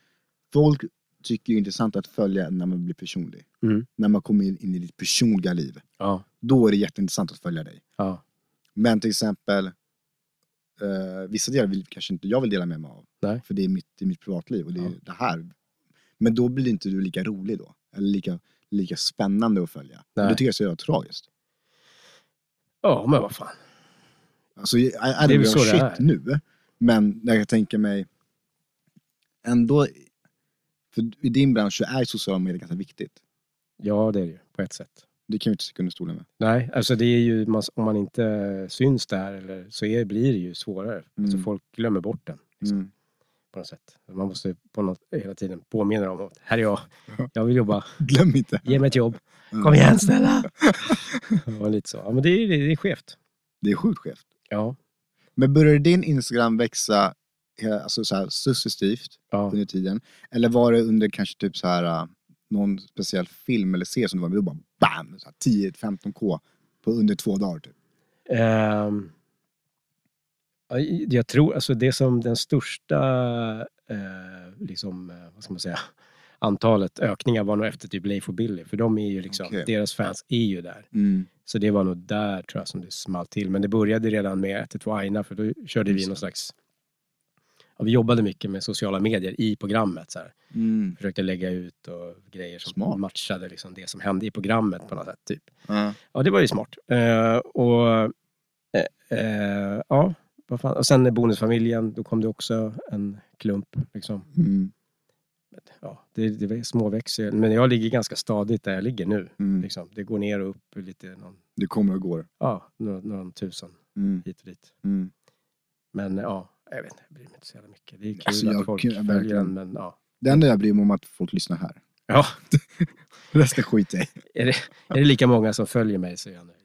folk tycker ju det är intressant att följa när man blir personlig.
Mm.
När man kommer in in i ditt personliga liv.
ja,
Då är det jätteintressant att följa dig.
ja,
Men till exempel, eh, vissa delar vill kanske inte jag vill dela med mig av.
Nej.
För det är mitt, det är mitt privatliv och det är
Ja.
det här. Men då blir inte du lika rolig då. Eller lika, lika spännande att följa. Och
Nej.
Det tycker jag är så jävla tragiskt.
ja, men vad fan.
Alltså, I, I don't
väl
give a
så det
shit
är.
nu. Men när jag tänker mig ändå, för i din bransch så är sociala medier ganska viktigt.
Ja, det är det ju på ett sätt.
Det kan vi inte sticka under stolen med.
Nej, alltså det är ju, man- om man inte syns där eller, så är, blir det ju svårare. Alltså
Mm.
folk glömmer bort den. Liksom.
Mm.
på något sätt. Man måste på något, hela tiden påminna dem om att här är jag,
Ja.
jag vill jobba,
Glöm inte.
ge mig ett jobb,
Mm.
kom igen snälla! Och lite så. Ja, men det är, det är skevt.
Det är sjukt skevt.
Ja,
Men började din Instagram växa eh, alltså så här, successivt
ja.
under tiden? Eller var det under kanske typ så här eh, någon speciell film eller serie som du var med och bara BAM! så här 10-15k på under två dagar typ.
Ehm, ja, jag tror, alltså det som den största, eh, liksom, eh, vad ska man säga, antalet ökningar var nog efter typ Leif och Billy, för de är ju liksom,
Okej.
deras fans är ju där.
Mm.
Så det var nog där tror jag som det small till. Men det började redan med 112 Aina för då körde vi
Just
någon
det.
slags... Ja, vi jobbade mycket med sociala medier i programmet. Så här.
Mm.
Försökte lägga ut och grejer som
Smart.
matchade liksom det som hände i programmet på något sätt. Typ.
Ja.
Ja, det var ju smart. Eh, och eh, eh, ja, vad fan. Och sen när Bonusfamiljen, då kom det också en klump. Liksom.
Mm.
Ja, det, det var småväxel. Men jag ligger ganska stadigt där jag ligger nu.
Mm.
Liksom. Det går ner och upp lite, någon,
Det kommer och går.
ja, några, några tusen
Mm.
hit och dit.
Mm.
Men ja, jag vet inte, jag bryr mig inte så jävla mycket. Det är kul
Alltså,
att
jag
folk
kan-
följer den,
verkligen.
men ja.
Det enda jag bryr mig om är att folk lyssnar här.
ja.
Resten skiter jag i.
Är, det, är det lika många som följer mig så är jag nöjd.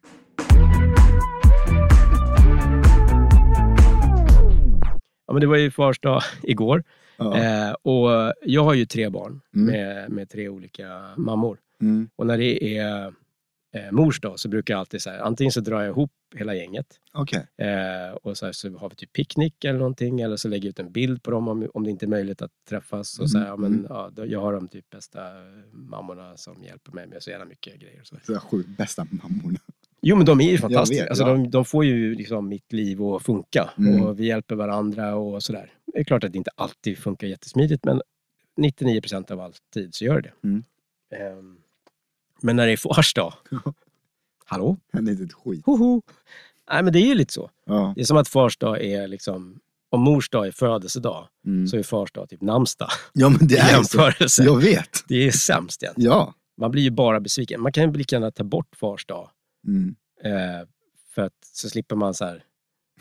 Ja, men det var ju fars dag igår
Ja.
eh, och jag har ju tre barn
Mm.
med, med tre olika mammor.
Mm.
Och när det är eh, mors dag så brukar jag alltid så här, antingen så drar jag ihop hela gänget
Okej.
Eh, och så, här, så har vi typ picknick eller någonting eller så lägger jag ut en bild på dem om, om det inte är möjligt att träffas. Och så här, ja, men,
Mm.
ja, då, jag har de typ bästa mammorna som hjälper mig med så jävla mycket grejer. Och så.
De sju bästa mammorna.
Jo men de är ju fantastiska.
vet,
alltså,
ja.
de, de får ju liksom mitt liv att funka
Mm.
och vi hjälper varandra och sådär. Det är klart att det inte alltid funkar jättesmidigt men 99 procent av all tid så gör det
Mm.
Ehm, Men när det är fars dag, hallå,
Händer inte ett skit.
hoho! Nej men det är ju lite så.
Ja.
Det är som att fars dag är liksom, om mors dag är födelsedag
Mm.
så är fars dag typ namnsdag
ja men det
i
är ju så.
jämförelse.
Jag vet.
Det är sämst egentligen.
Ja.
Man blir ju bara besviken. Man kan ju lika gärna ta bort fars dag
Mm.
eh, för att så slipper man så här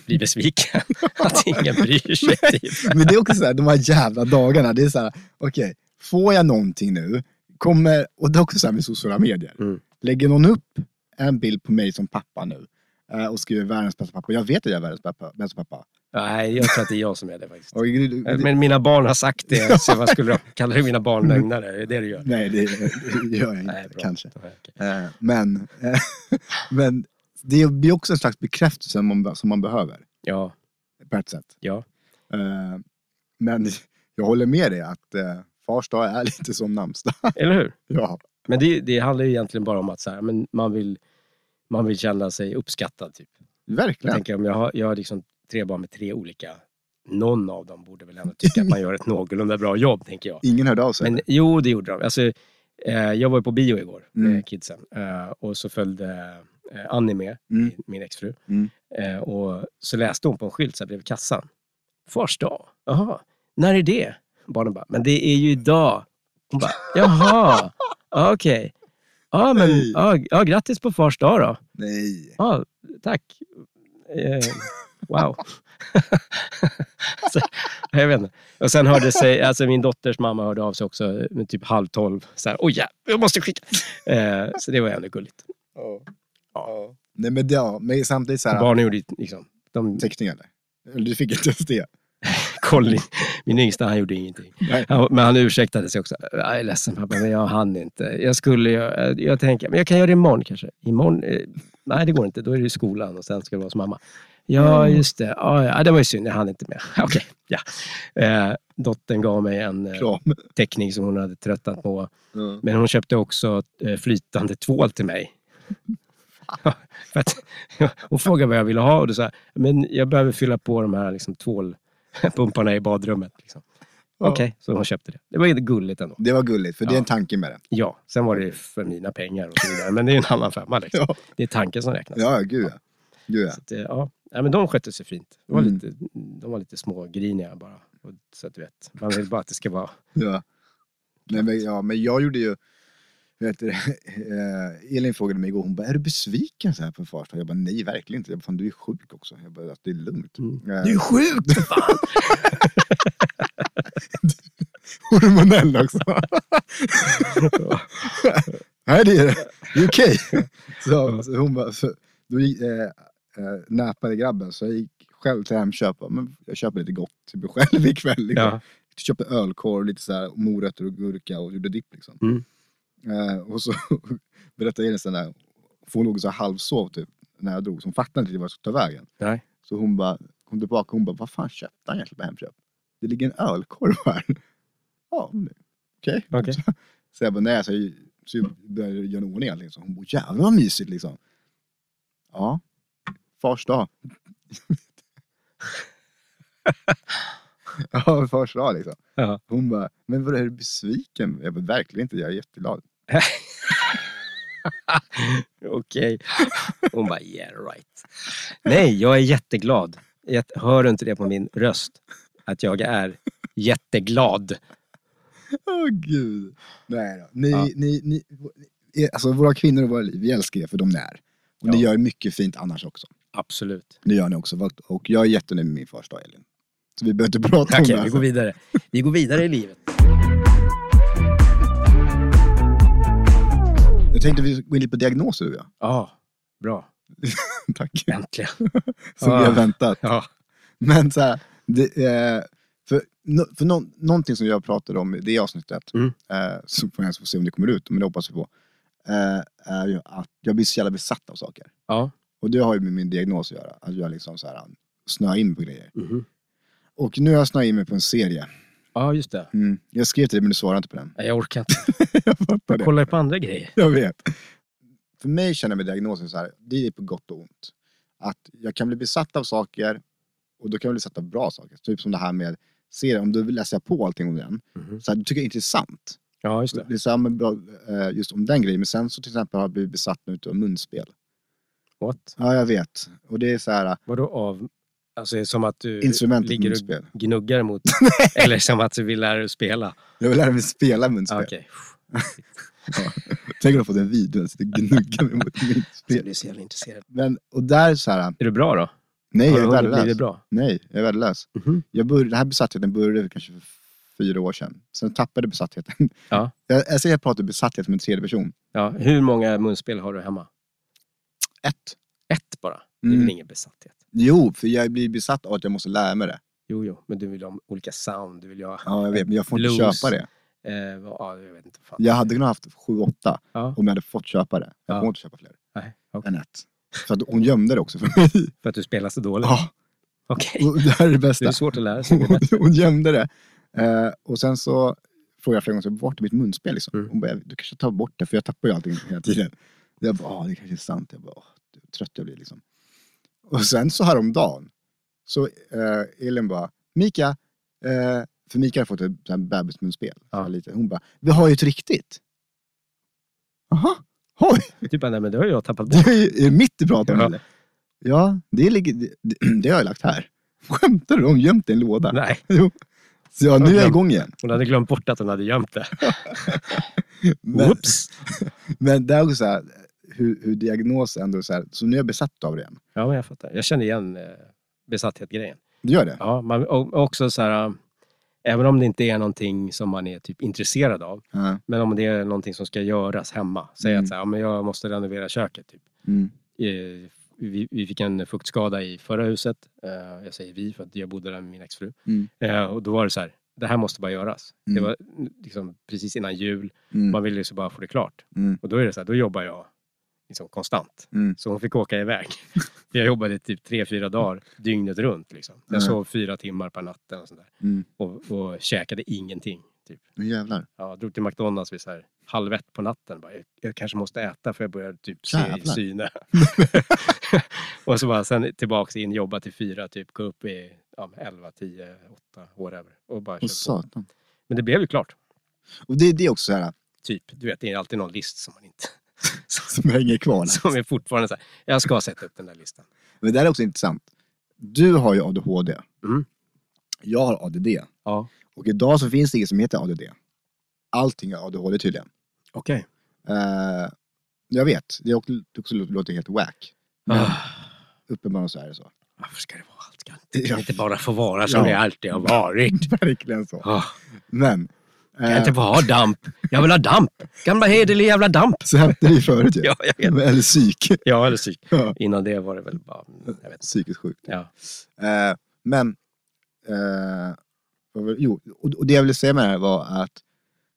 bli besviken. att ingen bryr sig. Typ.
Men det är också så här, de här jävla dagarna, det är så här, okej, får jag någonting nu? Kommer, och det är också så här med sociala medier.
Mm.
Lägger någon upp en bild på mig som pappa nu eh, och skriver världens bästa pappa, jag vet att jag är världens pappa- bästa pappa.
Nej, jag tror att det är jag som är det faktiskt. Eh,
Och,
Men mina barn har sagt det, så vad skulle de... Kallar du mina barn lögnare? Är det det du gör?
nej, det, det gör jag inte,
Nej, bra.
Mm. kanske.
Nej, okej.
Eh, Men, eh, men det blir också en slags bekräftelse man, som man behöver,
Ja,
på ett sätt.
ja.
Eh, Men jag håller med dig att eh, Fars dag är lite som namnsdag.
Eller hur?
Ja.
Men det, det handlar ju egentligen bara om att så här, men man, vill, man vill känna sig uppskattad. Typ. Jag
Verkligen.
tänker om jag har, jag har liksom tre barn med tre olika, någon av dem borde väl ändå tycka att man gör ett någorlunda bra jobb, tänker jag.
Ingen hörde av sig.
Men jo, det gjorde de. Alltså, eh, jag var ju på bio igår med
Mm.
kidsen eh, och så följde eh, Annie med,
Mm.
min exfru.
Mm.
Eh, och så läste hon på en skylt så här bredvid kassan. Fars dag? Jaha, när är det? Barnen bara, men det är ju idag. Hon bara, jaha, Ja, okej. Ja, men
Nej.
ja, ja, grattis på fars dag då.
Nej.
Ja, tack. Eh, wow. så, jag vet inte. Och sen hörde sig, alltså min dotters mamma hörde av sig också med typ halv tolv. Så här, oj ja, jag måste skicka. Eh, så det var ändå gulligt.
Ja. Nej men, det- ja, men samtidigt så
Och
här,
Barnen gjorde ju liksom, de
teckningar där. Eller Du fick inte ens det.
kollade, min yngsta han gjorde ingenting.
Nej.
Han, men han ursäktade sig också. Jag är ledsen pappa, men jag hann inte. Jag skulle, jag, jag tänker, men jag kan göra det imorgon kanske. Imorgon, eh, nej det går inte, då är det i skolan och sen ska det vara hos mamma. Ja,
Mm.
just det. Ja, ja, det var ju synd, jag hann inte med. Okej, ja. Eh, dottern gav mig en eh,
Kram.
teckning som hon hade tröttnat på.
Ja.
Men hon köpte också eh, flytande tvål till mig. För att, hon frågade vad jag ville ha och då sa jag, men jag behöver fylla på de här liksom, tvålpumparna i badrummet. Liksom. Okej, så hon köpte det. Det var ju gulligt ändå.
Det var gulligt, för det är
Ja.
en tanke med det.
Ja, sen var det ju för mina pengar och så vidare. Men det är ju en annan femma. Liksom.
Ja,
Det är tanken som räknas.
ja gud ja. Gud ja.
Så att, eh, ja. Nej, men de skötte sig fint. De var,
Mm.
lite, de var lite smågriniga bara. Och- Så att du vet, man vill bara att det ska vara...
Ja. Nej, men, ja, men jag gjorde ju... Vet du, eh, Elin frågade mig igår, hon bara, är du besviken så här på fars dag? Jag bara, nej verkligen inte. Jag bara, fan du är sjuk också. Jag bara, det är lugnt.
Mm.
Eh,
Du är sjuk!
hormonell också. Nej, det är det. Det är okej. Så, så hon bara, så, då gick, eh, eh, näpade grabben så jag gick själv till Hemköp. och, Men jag köper lite gott till mig själv ikväll. Liksom.
Ja.
Jag köpte ölkorv, lite så här, morötter och gurka och gjorde dipp liksom.
Mm.
Eh, och så berättade Elin sen där, för hon låg så här halvsov typ när jag drog. Så hon fattade inte riktigt vad jag skulle ta vägen.
Nej.
Så hon bara, kom tillbaka och hon bara, vad fan köpte han egentligen på Hemköp? Det ligger en ölkorv här. Ja, men- okej.
Okej.
Så, så jag bara, nej, så jag, så jag började göra en ordning allting. Så hon bara, jävlar vad mysigt liksom. Ja, fars dag. ja, fars dag liksom.
Ja.
Hon bara, men vadå, är du besviken? Jag bara, verkligen inte, jag är jätteglad.
Okej. Hon bara, yeah right. Nej, jag är jätteglad. Jätte- Hör du inte det på min röst? Att jag är jätteglad.
Åh gud. Nej då. Ni,
Ja.
ni, ni, ni, alltså våra kvinnor och våra liv, vi älskar er för de ni är. Och ni
Ja.
gör mycket fint annars också.
Absolut.
Det gör ni också. Och jag är jättenöjd med min första dag, Elin. Så vi behöver inte prata
Okej,
om det.
vi
Alltså.
går vidare. Vi går vidare i livet.
Jag tänkte vi går in lite på diagnoser du och jag.
Ja, bra.
Tack.
Äntligen.
Som vi
Ah.
har väntat.
Ja.
Men så här, det, eh, för, no, för nå- någonting som jag pratade om i det avsnittet,
Mm.
eh, så får jag se om det kommer ut, men det hoppas vi på, eh, är ju att jag blir så jävla besatt av saker.
ja.
Och det har ju med min diagnos att göra. Att jag liksom så här, snöar in på grejer.
mhm.
Och nu har jag snöat in mig på en serie.
Ja, just det.
Mm. Jag skrev till dig men du svarade inte på den.
Nej, Jag orkar inte.
jag fattar
Jag kollar på andra grejer.
Jag vet. För mig känner jag med diagnosen så här, det är på gott och ont. Att jag kan bli besatt av saker och då kan jag bli besatt av bra saker. Typ som det här med serien, om du vill läsa på allting om den.
Mhm.
Så här, du tycker det är intressant.
Ja, just det.
Det är samma bra, eh, just om den grejen. Men sen så till exempel har jag blivit besatt nu av munspel.
What?
Ja, jag vet. Och det är så här,
Vadå av? Alltså, det är som att du
instrumentet
ligger och
munspel.
gnuggar mot... Eller som att du vill lära dig spela.
Jag vill lära mig spela munspel.
Ah, Okej.
Tänk om du fått en video, jag sitter och gnuggar mig mot mitt
Jag blir
spel.
Alltså, så jävla intresserad.
Men, och där så här,
Är du bra då?
nej jag
Har
är
du hunnit bli det
värdelös.
bra?
Nej, jag är värdelös.
Mhm.
Jag började, den här besattheten började kanske för fyra år sedan. Sen tappade besattheten.
Ja.
Jag, jag säger att jag pratar besatthet som en tredje person.
Ja, hur många munspel har du hemma?
Ett.
Ett bara. Det är
Mm.
väl ingen besatthet?
Jo, för jag blir besatt av att jag måste lära mig det.
Jo, jo, men du vill ha olika sound. Du vill ha...
Ja, jag vet, men jag får inte
Blues.
köpa det.
Eh, vad- ja, jag vet inte. Fan.
Jag hade kunnat haft sju, åtta
Ja.
om jag hade fått köpa det. Jag
Ja.
får inte köpa fler
Nej, okej.
än ett. För att hon gömde det också för mig.
För att du spelar så dåligt?
Ja,
Okej.
och det här är det
Det
bästa.
är svårt att lära sig.
hon, hon gömde det. Eh, och sen så frågade jag flera gånger, så, vart är mitt munspel? Liksom.
Mm.
Hon bara, du kanske tar bort det, för jag tappar ju allting hela tiden. Jag bara, "Ah, det kanske är sant. Jag bara, "Ah, vad trött jag blir liksom. Och sen så häromdagen, så eh, Elin bara, Mika, eh, för Mika har fått ett sånt här bebismunspel. så här
Ja.
lite. Hon bara, vi har ju ett riktigt. Jaha, oj,
Typ, nej men det har jag tappat bort.
det är ju- är det mitt du pratar om
Ja.
eller? Ja, det, ligger, det, det har jag lagt här. Skämtar du? Har Hon gömt det i en låda.
Nej,
Jo. Så ja, nu är jag igång igen.
hon hade glömt bort att hon hade gömt det.
Men,
Whoops!
men det är också så här, hur, hur diagnos ändå är så här, så nu är jag besatt av det igen.
Ja, men jag fattar. Jag känner igen eh, besatthet-grejen.
Du gör det?
Ja, man, och och också så här, äh, även om det inte är någonting som man är typ intresserad av,
Ja.
men om det är någonting som ska göras hemma. Säg
Mm.
att så här, ja, men jag måste renovera köket. Typ.
Mm.
Eh, Vi, vi fick en fuktskada i förra huset. Eh, Jag säger vi för att jag bodde där med min exfru.
Mm.
Eh, Och då var det så här, det här måste bara göras.
Mm.
Det var mm, liksom precis innan jul. Man
Mm.
ville ju så bara få det klart.
Mm.
Och då är det så här, då jobbar jag liksom konstant.
Mm.
Så hon fick åka iväg. jag jobbade typ tre, fyra dagar dygnet runt. Liksom. Jag
Mm.
sov fyra timmar per natten och, sånt där.
Mm.
och, och käkade ingenting. Typ.
Nu jävlar.
Ja, jag drog till McDonalds vid så här halv ett på natten. Bara, jag, jag kanske måste äta för jag börjar typ se i
Jävlar.
syne. och så bara sen tillbaks in, jobba till fyra, typ gå upp i ja, men elva, tio, åtta, whatever. Och bara
Åh
kör på.
satan.
Men det blev ju klart.
Och det, det är också så här,
Typ, du vet, det är alltid någon list som man inte...
som hänger kvar. där.
som är fortfarande så här, jag ska sätta upp den där listan.
Men det här är också intressant. Du har ju ADHD.
Mm.
Jag har ADD.
Ja,
Och idag så finns det inget som heter ADD. Allting är ADHD tydligen.
okej.
Eh, jag vet, det är också, det också låter helt wack. Men
Ah.
uppenbarligen så är det så.
Varför ska det vara allt? Kan det kan inte bara få vara som
Ja.
det alltid har varit?
Verkligen så.
Ah,
Men,
kan jag
eh,
inte bara ha damp? Jag vill ha damp! Gamla hederlig jävla damp!
så hette det ju förut ju.
Ja, jag vet.
Eller psyk.
Ja, eller psyk.
Ja.
Innan det var det väl bara... Jag vet inte.
Psykiskt sjukt.
Ja.
Eh, men, eh, vad var- jo, och, och det jag ville säga med det här var att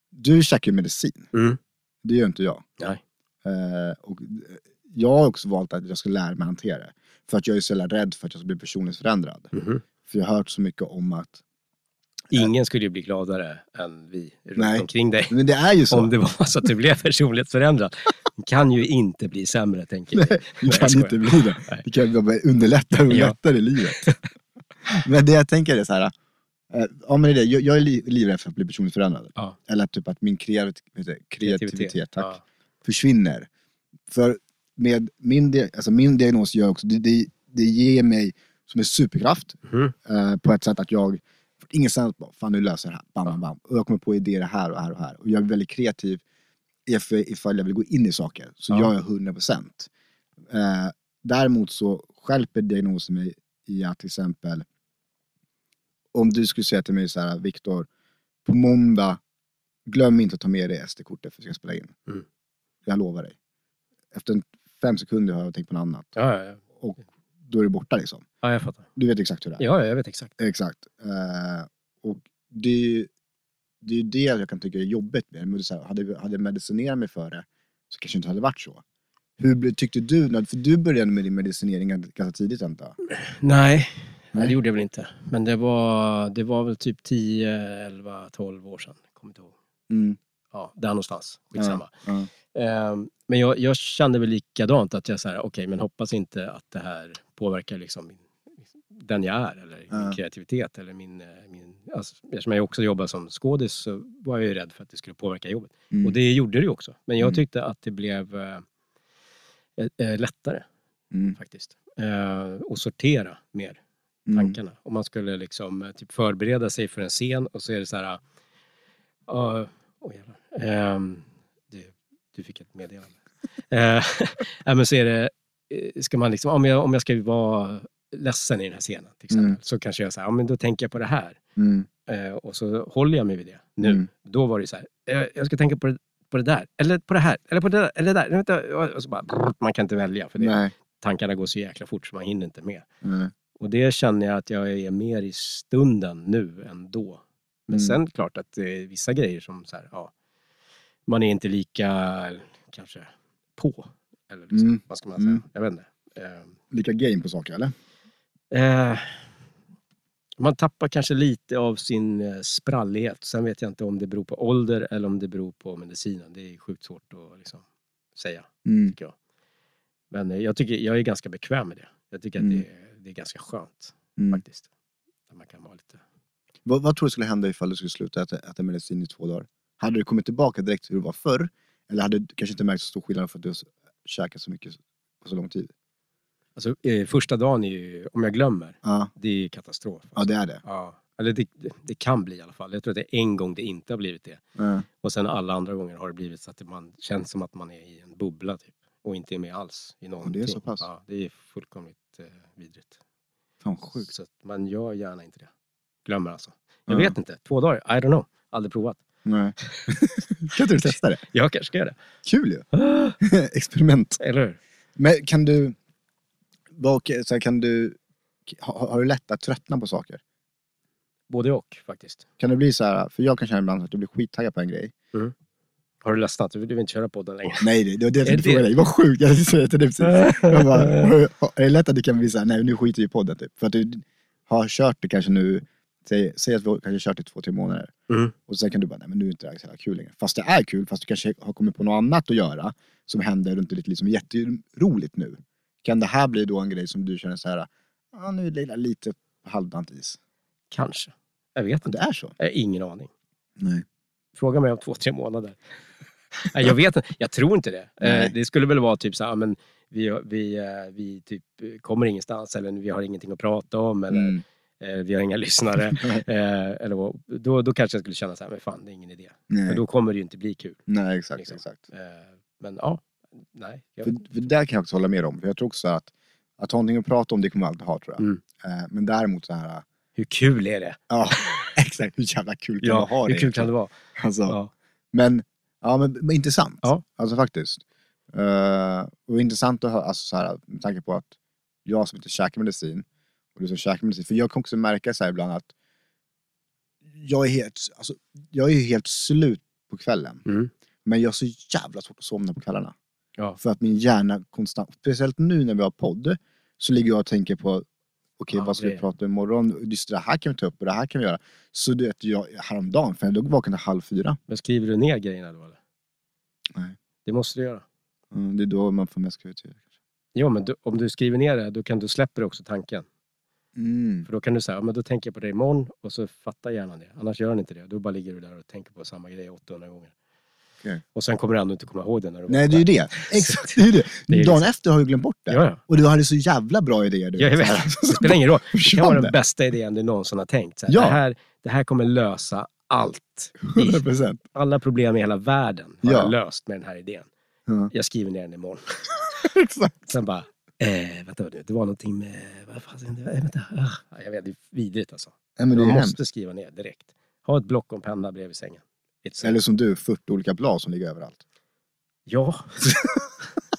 du käkar ju medicin.
Mm.
Det gör inte jag.
Nej.
Eh, och jag har också valt att jag ska lära mig hantera det. För att jag är så jävla rädd för att jag ska bli personligt förändrad.
Mhm.
För jag har hört så mycket om att,
Eh, Ingen skulle ju bli gladare än vi runt
Nej.
omkring dig.
men det är ju så.
Om det var så att du blev personlighetsförändrad. Det kan ju inte bli sämre, tänker vi.
Det
jag
kan
skojar.
inte bli det.
Nej.
Det kan bara underlätta och
Ja.
lättare i livet. Men det jag tänker är så här. eh, Ja, men det är det. Jag, jag är li- livrädd för att bli personligt förändrad.
Ja.
Eller typ att min kreat- vad heter det? kreativitet, tack,
Ja.
försvinner. För med min, dia- alltså min diagnos gör också, det, det, det ger mig som en superkraft
Mhm.
eh, på ett sätt att jag från ingenstans bara, fan nu löser jag det här. Bam, bam, bam. Och jag kommer på idéer här och här och här. Och jag är väldigt kreativ if- ifall jag vill gå in i saker. Så
Ja.
gör jag 100%. Eh, däremot så skälper diagnosen mig i att till exempel om du skulle säga till mig så här, Viktor, på måndag, glöm inte att ta med dig SD-kortet för att jag ska spela in.
Mm.
Jag lovar dig. Efter en fem sekunder har jag tänkt på något annat.
Ja, ja, ja.
Då är det borta liksom.
ja, jag fattar.
Du vet exakt hur det är.
Ja, ja, jag vet exakt.
Exakt. Eh, och det är, ju, det är ju det jag kan tycka är jobbigt med det. Men det. är så här, Hade, hade jag medicinerat mig för det så kanske det inte hade varit så. Hur blev- tyckte du? när- För du började med din medicinering ganska ganska tidigt antar jag?
Nej,
Nej.
det gjorde jag väl inte. Men det var, det var väl typ 10, 11, 12 år sedan. Kommer inte ihåg.
Mm.
Ja, där någonstans. Skitsamma.
Ja.
Ehm, Men jag, jag kände väl likadant att jag så här, okej, men hoppas inte att det här påverkar liksom min, den jag är eller min
Ja.
kreativitet eller min, eh, min alltså, eftersom jag också jobbar som skådis så var jag ju rädd för att det skulle påverka jobbet.
Mm.
Och det gjorde det ju också. Men jag
Mm.
tyckte att det blev eh, eh, lättare
Mm.
faktiskt. Eh, och sortera mer
Mm.
tankarna. Om man skulle liksom eh, typ förbereda sig för en scen och så är det så här... Uh, oh, jävlar. Ehm, du, du fick ett meddelande. Eh, nej, men så är det... eh, Ska man liksom, om, jag, om jag ska vara ledsen i den här scenen till exempel,
Mm.
så kanske jag säger, ja men då tänker jag på det här.
Mm.
Eh, och så håller jag mig vid det nu.
Mm.
Då var det så här, eh, jag ska tänka på det, på det där, eller på det här, eller på det där, eller där. Nej, vänta, Och så bara, man kan inte välja för det.
Nej.
tankarna går så jäkla fort så man hinner inte med.
Mm.
Och det känner jag att jag är mer i stunden nu än då. Men
Mm.
sen klart att det är vissa grejer som så här, ja, man är inte lika kanske på. Eller liksom,
Mm.
vad ska man säga?
Mm.
Jag vet inte. Eh,
Lika game på saker eller?
eh, Man tappar kanske lite av sin eh, sprallighet. Sen vet jag inte om det beror på ålder eller om det beror på medicinen. Det är sjukt svårt att liksom, säga.
Mm.
tycker jag. Men eh, jag, tycker, jag är ganska bekväm med det. Jag tycker
Mm.
att det är, det är ganska skönt
Mm.
faktiskt. Att man kan vara lite...
Vad, vad tror du skulle hända ifall du skulle sluta äta, äta medicin i två dagar? Hade du kommit tillbaka direkt till hur du var förr? Eller hade du kanske inte märkt så stor skillnad för att du har s- käkat så mycket på så lång tid?
Alltså, eh, första dagen är ju, om jag glömmer,
Ja,
det är ju katastrof.
ja det är det.
Ja. Eller det, det- det kan bli i alla fall. Jag tror att det är en gång det inte har blivit det.
Ja.
Och sen alla andra gånger har det blivit så att man känns som att man är i en bubbla typ. Och inte är med alls i någonting.
så pass.
Ja, det är fullkomligt eh, vidrigt.
Fan sjukt.
Så att man gör gärna inte det. Glömmer alltså. Jag
Ja.
vet inte. Två dagar? I don't know. Aldrig provat.
Nej. kan inte du testa det?
Jag kanske ska göra
Kul ju!
det.
Experiment.
Eller hur?
Men kan du... Vad, så här, kan du har, har du lätt att tröttna på saker?
Både och faktiskt.
Kan det bli så här, för jag kan känna ibland att jag blir skittaggad på en grej.
Har du ledsnat? Du vill du vill inte köra podden längre.
Nej, det, det var det jag tänkte
det-
fråga dig. Vad sjukt! Jag tänkte säga till dig precis. typ Jag bara, är det lätt att du kan bli såhär, nej nu skiter vi i podden typ. För att du har kört det kanske nu, säg, säg att vi har kanske kört det i två, tre månader.
Mm.
Och sen kan du bara, nej men nu är inte det här så jävla kul längre. Fast det är kul, fast du kanske har kommit på något annat att göra som händer runt i ditt liv som är jätteroligt nu. Kan det här bli då en grej som du känner så här, ah, nu är det lite på halvdant is.
Kanske. Jag vet
Men det
inte.
är så.
Jag har ingen aning.
Nej.
Fråga mig om två, tre månader. Nej, jag vet inte. Jag tror inte det.
Nej.
Eh, Det skulle väl vara typ så här, ah, men vi, vi, eh, vi typ eh, kommer ingenstans eller vi har ingenting att prata om eller
Mm.
eh, vi har inga lyssnare. eh, eller vad- då, då kanske jag skulle känna så här, men fan det är ingen idé. Men
Nej.
då kommer det ju inte bli kul.
nej, exakt.
Liksom.
exakt.
Eh, Men ja, nej. Jag,
För, för där kan jag också hålla med om. För jag tror också att, att ha någonting att prata om, det kommer man alltid ha tror jag.
Mm.
Eh, men däremot så här,
hur kul är det?
Ja, exakt. Hur jävla kul kan man ha
hur
det?
kul kan det vara?
Alltså,
Ja.
Men, ja, men, men intressant.
Ja.
Alltså faktiskt. Eh, och intressant att höra, alltså, så här, med tanke på att jag som inte käkar medicin och du som käkar medicin. För jag kan också märka så här ibland att jag är helt, alltså, jag är ju helt slut på kvällen.
Mm.
Men jag har så jävla svårt att somna på kvällarna.
Ja.
För att min hjärna konstant, speciellt nu när vi har podd, så ligger jag och tänker på okej
Ja,
vad ska vi
det-
prata om imorgon? Just det här kan vi ta upp och det här kan vi göra. Så du vet, jag, häromdagen, för jag låg vaken till halv fyra.
Men skriver du ner grejerna då eller?
Nej.
Det måste du göra.
Mm, det är då man får mest kreativitet.
Jo, men du, om du skriver ner det, då kan du släpper du också tanken.
Mm.
För då kan du säga, ja, men då tänker jag på det imorgon och så fattar hjärnan det. Annars gör den inte det. Då bara ligger du där och tänker på samma grej 800 gånger.
Okej.
Och sen kommer du ändå inte komma ihåg det när du
Nej, det är
vaknar.
ju det. Exakt, det är ju det.
Det är ju
Dagen
liksom-
efter har du glömt bort det.
Ja, ja.
Och du hade så jävla bra idéer. Du,
Jag vet. Det spelar ingen roll. Det kan vara den
bästa.
bästa idén du någonsin har tänkt. Så här,
Ja.
det, här, det här kommer lösa allt. I-
100 procent.
Alla problem i hela världen har
Ja.
jag löst med den här idén. Jag skriver ner den imorgon.
Exakt.
Sen bara, eh, vänta nu, det var någonting med, vad fan, det var, eh, vänta, ah, jag vet, det är vidrigt alltså.
Nej, men det är
Man
ju
måste
hemskt.
skriva ner direkt. Ha ett block och en penna bredvid sängen. It's
Eller som du, 40 olika blad som ligger överallt.
Ja.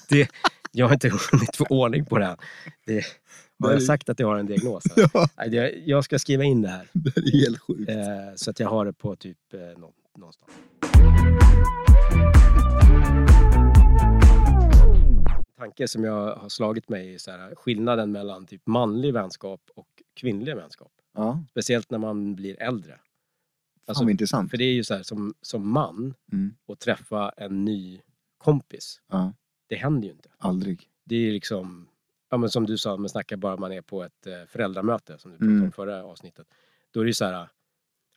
det, jag har inte hunnit få ordning på det här. Det, har
Nej.
jag sagt att jag har en diagnos? här?
Ja,
Nej, det- Jag ska skriva in det här.
det är helt sjukt.
Eh, så att jag har det på typ eh, nå- någonstans. En tanke som jag har slagit mig är så här, skillnaden mellan typ manlig vänskap och kvinnlig vänskap.
Ja,
Speciellt när man blir äldre.
alltså,
Alltså,
vad intressant.
för det är ju så här, som, som man,
Mm.
att träffa en ny kompis,
Ja,
det händer ju inte.
aldrig.
Det är ju liksom, ja, men som du sa, man snackar bara man är på ett eh, föräldramöte, som du pratade
Mm.
om förra avsnittet. Då är det ju så här, eh,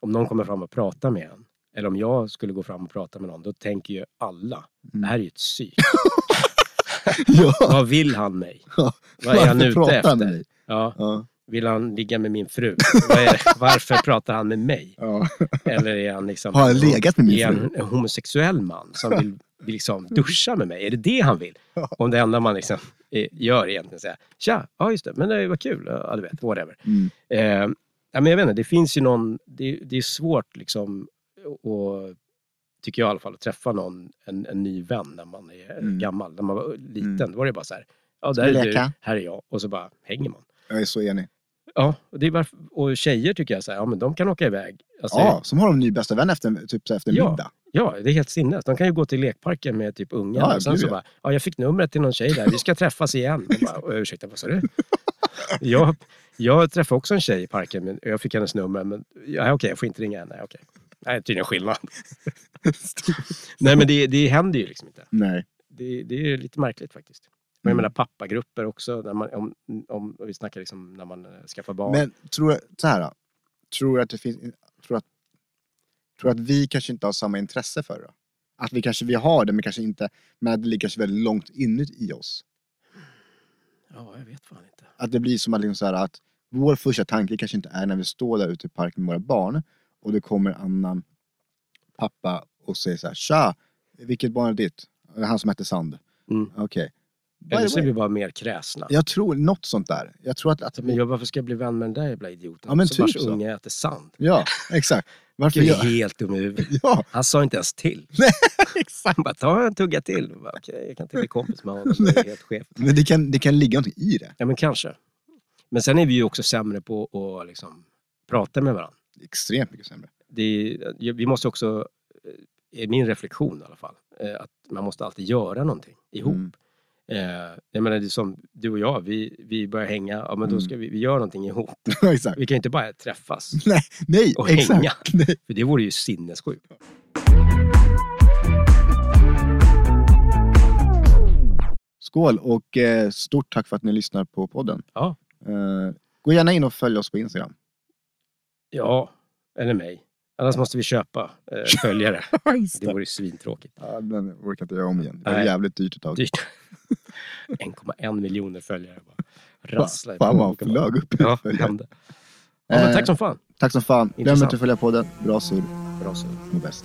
om någon kommer fram och pratar med en, eller om jag skulle gå fram och prata med någon, då tänker ju alla, det här är ju ett psyk.
Mm. Ja,
Vad vill han mig? Vad är
varför
han ute
pratar han med
efter?
dig?
Ja,
Ja,
vill han ligga med min fru? Vad är det? Varför pratar han med mig?
ja.
Eller är han liksom...
Har han legat med min
är
fru?
han en homosexuell man som vill, vill liksom duscha med mig? Är det det han vill? Om det enda man liksom eh, gör egentligen säga, tja, ja just det, men det var kul, ja du vet, whatever.
Mm.
Eh, ja, men jag vet inte, det finns ju någon, det, det är svårt liksom och tycker jag i alla fall, att träffa någon, en, en ny vän när man är eh,
Mm.
gammal. När man var liten,
Mm.
då var det bara så här, ja
Ska
där är
vi
du,
leka?
här är jag, och så bara hänger man.
Jag är så enig.
Ja, och, det är varför, och tjejer tycker jag så här, ja men de kan åka iväg. Alltså,
Ja, som har de ny bästa vän efter, typ, så här efter
Ja.
middag.
Ja, det är helt sinnes. De kan ju gå till lekparken med typ unga
Ja,
och sen
gud,
så
ja.
bara, ja, jag fick numret till någon tjej där, vi ska träffas igen. Och bara, "Ö, ursäkta, vad sa du? Jag, Jag träffade också en tjej i parken, men jag fick hennes nummer. Men ja, okej, jag får inte ringa henne. Okej. Nej, tydligen skillnad. Nej, men det, det händer ju liksom inte.
Nej.
Det, det är lite märkligt faktiskt. Men jag
Mm.
menar pappagrupper också, när man, om, om vi snackar liksom när man eh, skaffar barn.
Men tror jag, så här då. Tror jag att det finns, tror att, tror att vi kanske inte har samma intresse för det? Att vi kanske vi har det, men kanske inte, men att det ligger kanske väldigt långt inuti oss.
Ja, jag vet fan inte.
Att det blir som att, liksom så här, att vår första tanke kanske inte är när vi står där ute i parken med våra barn och det kommer en annan pappa och säger så här, tja, vilket barn är ditt? Det är Han som hette Sand.
Mm.
Okej.
Eller så är
By the
vi
way,
bara mer kräsna.
Jag tror något sånt där. Jag tror att, att
Så, Men jag, varför ska jag bli vän med den där jävla idioten?
Typ. Ja, men
som
typ
vars
så.
unge äter sand.
Ja, exakt. Varför
Jag är
gör...
helt dum i huvudet.
Ja,
Han sa inte ens till.
exakt.
Han bara, ta en tugga till. Jag, bara, "Okej, jag kan inte bli kompis med honom. Det är helt skevt.
Men det kan, det kan ligga någonting i det.
Ja, men kanske. Men sen är vi ju också sämre på att liksom, prata med varandra.
extremt mycket sämre.
Det är, vi måste också, eh, i min reflektion i alla fall, eh, att man måste alltid göra någonting ihop.
Mm.
Eh, jag menar, det är som du och jag, vi, vi börjar hänga, ja men då
Mm.
ska vi, vi göra någonting ihop.
exakt.
Vi kan ju inte bara träffas,
Nej,
Och
exakt.
hänga.
Nej.
för det vore ju sinnessjukt.
Skål och eh, stort tack för att ni lyssnar på podden.
Ja.
Eh, gå gärna in och följ oss på Instagram.
Ja, eller mig. Annars måste vi köpa eh, följare. Det vore ju svintråkigt.
Ja, den orkar inte jag om igen. Det var
Nej.
jävligt dyrt ett tag.
Dyrt. 1,1 miljoner följare. Bara. Rasslar i
Fan vad han
plånboken bara.
flög upp.
Ja, det
Följare.
hände. Ja, men
Eh,
tack som fan.
Tack som fan. Glöm
Intressant.
inte att följa podden. Bra surr,
Bra så.
må bäst.